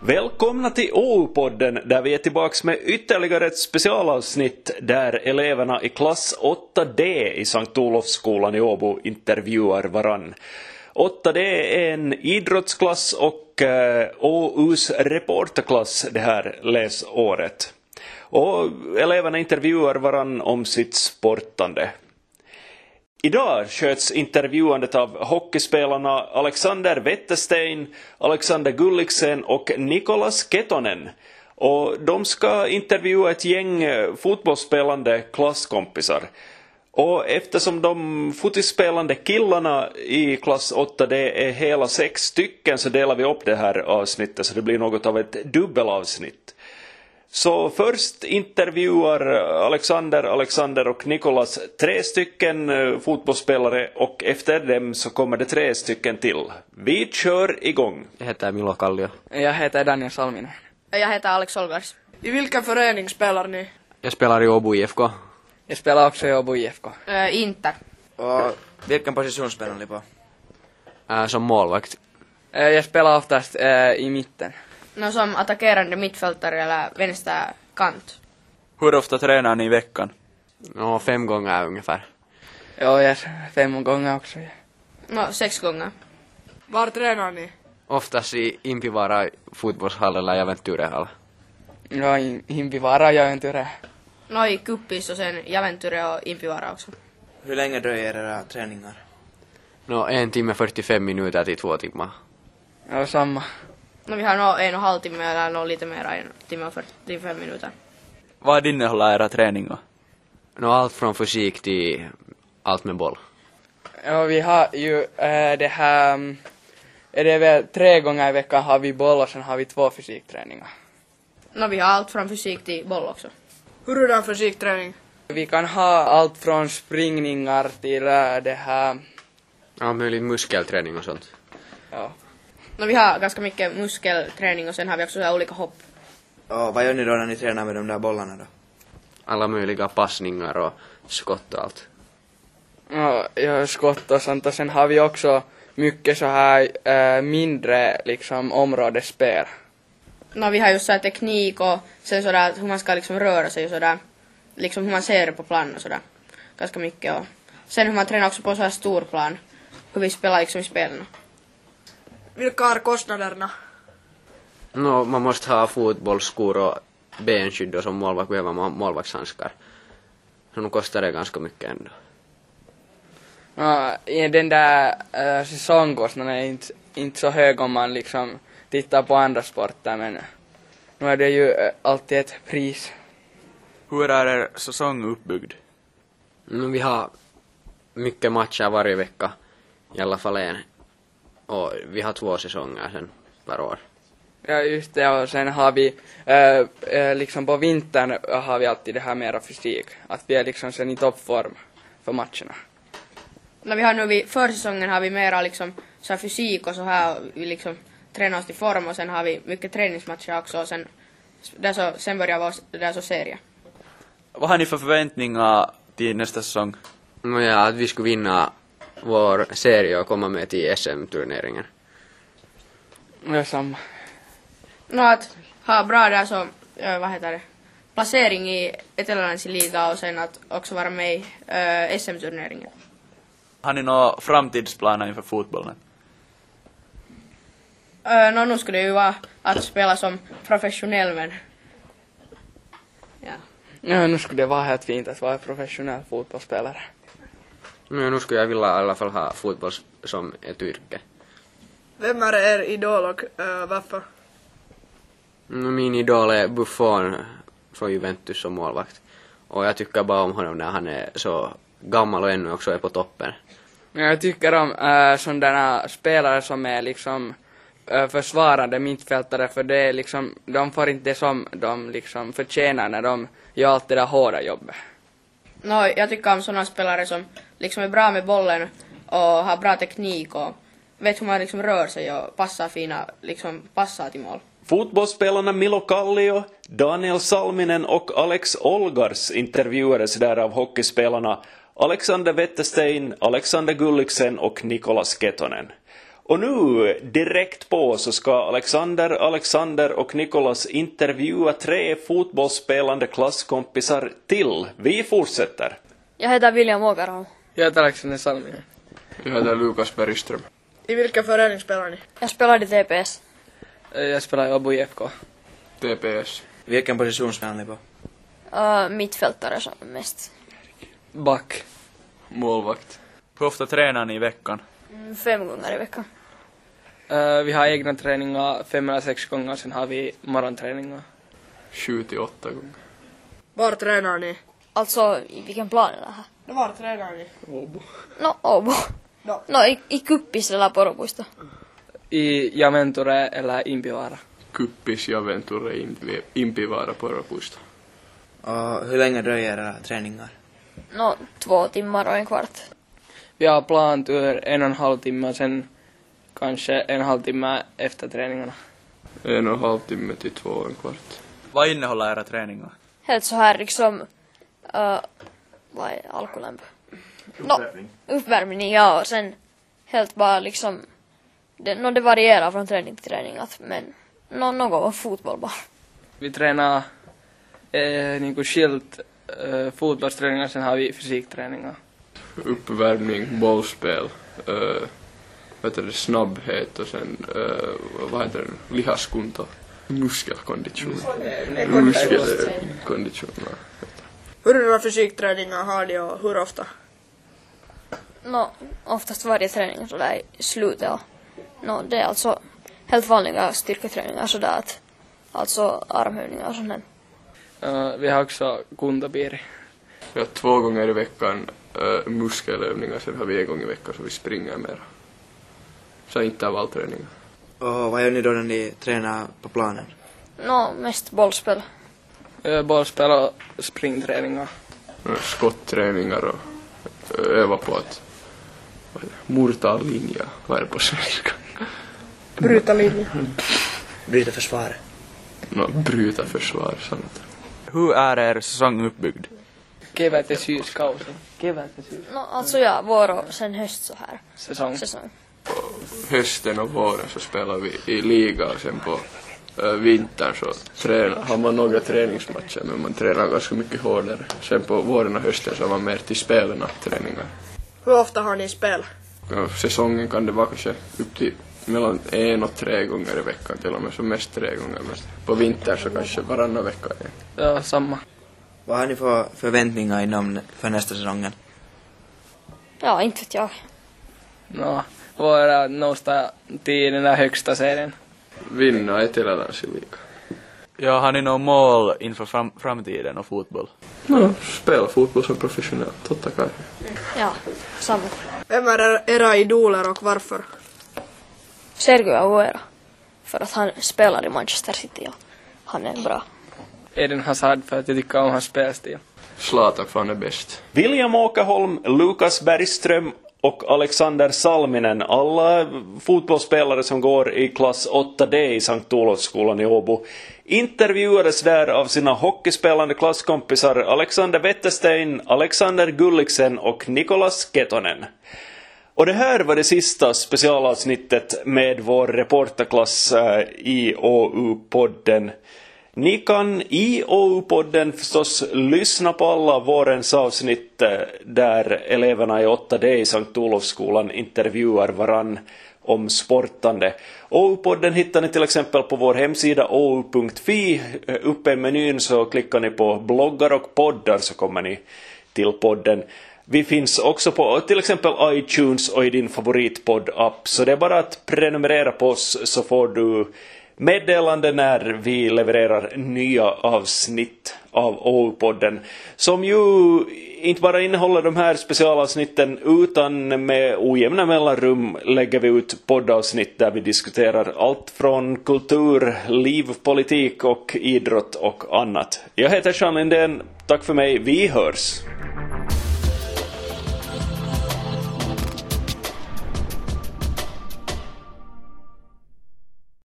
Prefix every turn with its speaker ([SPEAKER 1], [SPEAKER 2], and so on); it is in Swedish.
[SPEAKER 1] Välkomna till OU-podden där vi är tillbaks med ytterligare ett specialavsnitt där eleverna i klass 8D i Sankt Olofsskolan i Åbo intervjuar varann. 8D är en idrottsklass och eh, OUs reporterklass det här läsåret. Och eleverna intervjuar varann om sitt sportande. Idag sköts intervjuandet av hockeyspelarna Alexander Wetterstein, Alexander Gulliksen och Nikolas Ketonen. Och de ska intervjua ett gäng eh, fotbollsspelande klasskompisar. Och eftersom de fotispelande killarna i klass 8 det är hela sex stycken så delar vi upp det här avsnittet så det blir något av ett dubbelavsnitt. Så först intervjuar Alexander, Alexander och Nikolas tre stycken eh, fotbollsspelare och efter dem så kommer det tre stycken till. Vi kör igång.
[SPEAKER 2] Jag heter Milo Kallio.
[SPEAKER 3] Jag heter Daniel Salminen.
[SPEAKER 4] Jag heter Alex Olgars.
[SPEAKER 5] I vilken förening spelar ni?
[SPEAKER 2] Jag spelar i Åbo IFK.
[SPEAKER 3] Jag spelar också i Åbo IFK.
[SPEAKER 4] Äh, Inter.
[SPEAKER 6] Och vilken position spelar ni på?
[SPEAKER 2] Äh, som målvakt.
[SPEAKER 3] Eh, Jag spelar oftast eh, i mitten.
[SPEAKER 4] No, som attackerande mittfältare eller vänsterkant.
[SPEAKER 6] Hur ofta tränar ni i veckan?
[SPEAKER 2] Nå, fem gånger ungefär.
[SPEAKER 3] Jag gör fem gånger också.
[SPEAKER 4] No, sex gånger.
[SPEAKER 5] Var tränar ni?
[SPEAKER 2] Oftast i Impivara fotbollshall eller Aventurehall.
[SPEAKER 3] Jag är Impivara, jag är en tyre.
[SPEAKER 4] No, i Kuppis och sen Javenture och Impivaara också.
[SPEAKER 6] Hur länge dröjer era träningar?
[SPEAKER 2] Nå, en timme 45 minuter till två timmar.
[SPEAKER 3] Jag är samma.
[SPEAKER 4] No, vi har nog en och en halv timme eller nog lite mer, en timme och 45 minuter.
[SPEAKER 6] Vad innehåller era träningar?
[SPEAKER 2] Nå, allt från fysik till allt med boll.
[SPEAKER 3] Ja, vi har ju eh, det här... mm, Är det väl tre gånger i veckan har vi boll och sen har vi två fysikträningar.
[SPEAKER 4] No, vi har allt från fysik till boll också.
[SPEAKER 5] Hurdan fysikträning?
[SPEAKER 3] Vi kan ha allt från springningar till eh, det här...
[SPEAKER 2] Allt möjligt muskelträning och sånt.
[SPEAKER 3] Ja.
[SPEAKER 4] No, vi har ganska mycket muskelträning och sen har vi också så här olika hopp.
[SPEAKER 7] Och vad gör ni då när ni tränar med de där bollarna då?
[SPEAKER 2] Alla möjliga passningar och skott och allt.
[SPEAKER 3] Ja, ja, skott och sånt och sen har vi också mycket så här eh, mindre liksom områdesspel.
[SPEAKER 4] No, vi har just så här teknik och sen sådär hur man ska liksom röra sig och sådär. Liksom hur man ser det på plan och sådär. Ganska mycket och sen hur man tränar också på så här stor plan. Hur vi spelar liksom i spelen.
[SPEAKER 5] Vilka är kostnaderna?
[SPEAKER 2] Nå, man måste ha fotbollsskor och benskydd och som målvakt behöver man målvaktshandskar. Så nu kostar det ganska mycket ändå.
[SPEAKER 3] Ja, i den där äh, säsongkostnaden är inte, inte så hög om man liksom tittar på andra sporter men nu är det ju äh, alltid ett pris.
[SPEAKER 6] Hur är er säsong uppbyggd?
[SPEAKER 2] No, vi har mycket matcher varje vecka, i alla fall en. Och vi har två säsonger sen per år.
[SPEAKER 3] Ja just det och sen har vi äh, äh, liksom på vintern har vi alltid det här mera fysik. Att vi är liksom sen i toppform för matcherna.
[SPEAKER 4] No, vi har nu vid försäsongen har vi mera liksom så här fysik och så här och vi liksom tränar oss till form och sen har vi mycket träningsmatcher också och sen där så, sen börjar vår där så serie.
[SPEAKER 6] Vad har ni för förväntningar till nästa säsong?
[SPEAKER 2] No, ja, att vi skulle vinna vår serie och komma med till SM-turneringen.
[SPEAKER 3] Ja, samma.
[SPEAKER 4] No, att ha bra där så, äh, vad heter det, placering i eteläländsk liga och sen att också vara med i äh, SM-turneringen.
[SPEAKER 6] Har ni några framtidsplaner inför fotbollen?
[SPEAKER 4] Äh, no, nu skulle det ju vara att spela som professionell men... Ja.
[SPEAKER 3] Ja, nu skulle det vara helt fint att vara professionell fotbollsspelare.
[SPEAKER 2] No, ja, nu skulle jag vilja i alla fall ha fotboll som ett yrke.
[SPEAKER 5] Vem är er idol och äh, varför?
[SPEAKER 2] No, min idol är Buffon från Juventus som målvakt. Och jag tycker bara om honom när han är så gammal och ännu också är på toppen.
[SPEAKER 3] Men Jag tycker om äh, sådana spelare som är liksom äh, försvarande mittfältare för det är liksom, de får inte det som de liksom förtjänar när de gör allt det där hårda jobbet.
[SPEAKER 4] No, jag tycker om sådana spelare som liksom är bra med bollen och har bra teknik och vet hur man liksom rör sig och passar fina, liksom passar till mål.
[SPEAKER 1] Fotbollsspelarna Milo Kallio, Daniel Salminen och Alex Olgars intervjuades där av hockeyspelarna Alexander Wetterstein, Alexander Gulliksen och Nikolas Ketonen. Och nu direkt på så ska Alexander, Alexander och Nikolas intervjua tre fotbollsspelande klasskompisar till. Vi fortsätter.
[SPEAKER 8] Jag heter William Åkerholm.
[SPEAKER 3] Jag heter Alexander Salminen.
[SPEAKER 9] Jag heter Lukas Bergström.
[SPEAKER 5] I vilken förening spelar ni?
[SPEAKER 8] Jag spelade i TPS.
[SPEAKER 3] Eh, Jag spelar i Åbo IFK.
[SPEAKER 9] TPS.
[SPEAKER 7] Vilken position spelar ni på?
[SPEAKER 8] Uh, mittfältare som mest.
[SPEAKER 3] Back.
[SPEAKER 9] Målvakt.
[SPEAKER 6] Hur ofta tränar ni i veckan?
[SPEAKER 8] Mm, Fem gånger i veckan.
[SPEAKER 3] Eh, Vi har egna träningar fem eller sex gånger, sen har vi morgonträningar.
[SPEAKER 9] Sju till åtta gånger.
[SPEAKER 5] Var tränar ni?
[SPEAKER 8] Alltså, i vilken plan är det här?
[SPEAKER 5] No var tränar ni?
[SPEAKER 8] No, Åbo.
[SPEAKER 5] No.
[SPEAKER 8] No, i, i Kuppis eller Poropuisto.
[SPEAKER 3] I Jamenture eller Impivaara.
[SPEAKER 9] Kuppis ja Venture Impi- Impivaara Poropuisto.
[SPEAKER 7] Och hur länge dröjer era träningar?
[SPEAKER 8] No, två timmar och en kvart.
[SPEAKER 3] Vi har plantur en och en halv timme, sen kanske en halvtimme efter träningarna.
[SPEAKER 9] En och en halv timme till två och en kvart.
[SPEAKER 6] Vad innehåller era träningar?
[SPEAKER 8] helt så här liksom, uh, vad är alkolämpö? No, uppvärmning, ja och sen helt bara liksom, det, no, det varierar från träning till träning att, men no, något fotboll bara.
[SPEAKER 3] Vi tränar eh, niinku skilt eh, fotbollsträningar, sen har vi fysikträningar.
[SPEAKER 9] Uppvärmning, bollspel, äh, vad heter det, snabbhet och sen, äh, vad heter det, lihaskunta. Muskelkondition. Muskelkondition. ja.
[SPEAKER 5] Hur många fysikträningar har ni och hur ofta?
[SPEAKER 8] No, oftast varje träning så där i slutet och no, det är alltså helt vanliga styrketräningar sådär att, alltså armhävningar och sånt där.
[SPEAKER 3] Eh, vi har också kuntabiri.
[SPEAKER 9] Vi har två gånger i veckan äh, muskelövningar, sen har vi en gång i veckan så vi springer mera. Så intervallträningar.
[SPEAKER 7] Och vad gör ni då när ni tränar på planen?
[SPEAKER 8] No, mest bollspel.
[SPEAKER 3] Eh, bollspel och springträningar.
[SPEAKER 9] Eh, skottträningar och öva på att vad är det, murta en linja. Vad är det på svenska?
[SPEAKER 5] Bryta linjen.
[SPEAKER 7] Bryta försvaret?
[SPEAKER 9] No, bryta försvar, sanot.
[SPEAKER 6] Hur är er säsong uppbyggd?
[SPEAKER 3] Kevät ja syyskausi. Kevät ja syys.
[SPEAKER 8] No, alltså ja, vår och sen höst så här.
[SPEAKER 3] Säsong.
[SPEAKER 8] Säsong.
[SPEAKER 9] Hösten och våren så spelar vi i liga och sen på ö, vintern så tränar, har man några träningsmatcher men man tränar ganska mycket hårdare. Sen på våren och hösten så har man mer till spel än att träningar.
[SPEAKER 5] Hur ofta har ni spel?
[SPEAKER 9] Ja, Säsongen kan det vara kanske upp till mellan en och tre gånger i veckan till och med, så mest tre gånger. Men på vintern så kanske varannan vecka igen.
[SPEAKER 3] Ja, samma.
[SPEAKER 7] Vad har ni för förväntningar inom för nästa säsongen?
[SPEAKER 8] Ja, inte vet jag.
[SPEAKER 3] No, våra nousta till den där högsta serien.
[SPEAKER 9] Vinna etelälänsiliiga.
[SPEAKER 6] Ja, har ni några mål inför fram framtiden och fotboll?
[SPEAKER 9] No, spela fotboll som professionell, totta kai.
[SPEAKER 8] Ja, samma.
[SPEAKER 5] Vem är er- era idoler och varför?
[SPEAKER 8] Sergio Aguero. För att han spelar i Manchester City och han är bra.
[SPEAKER 3] Eden Hazard för att jag tycker om hans spelstil.
[SPEAKER 9] Zlatan fan är bäst.
[SPEAKER 1] William Åkerholm, Lukas Bergström och Alexander Salminen, alla fotbollsspelare som går i klass 8D i Sankt Olofsskolan i Åbo, intervjuades där av sina hockeyspelande klasskompisar Alexander Wetterstein, Alexander Gulliksen och Nikolas Ketonen. Och det här var det sista specialavsnittet med vår reporterklass eh, i OU-podden. Ni kan i OU-podden förstås lyssna på alla vårens avsnitt eh, där eleverna i 8D i Sankt Olofsskolan intervjuar varann om sportande. OU-podden hittar ni till exempel på vår hemsida ou.fi. Eh, Uppe i menyn så klickar ni på bloggar och poddar så kommer ni till podden. Vi finns också på till exempel iTunes och i din favoritpodd-app, så det är bara att prenumerera på oss så får du meddelande när vi levererar nya avsnitt av OU-podden, som ju inte bara innehåller de här specialavsnitten, utan med ojämna mellanrum lägger vi ut poddavsnitt där vi diskuterar allt från kultur, liv, politik och idrott och annat. Jag heter Jean Lindén, tack för mig, vi hörs!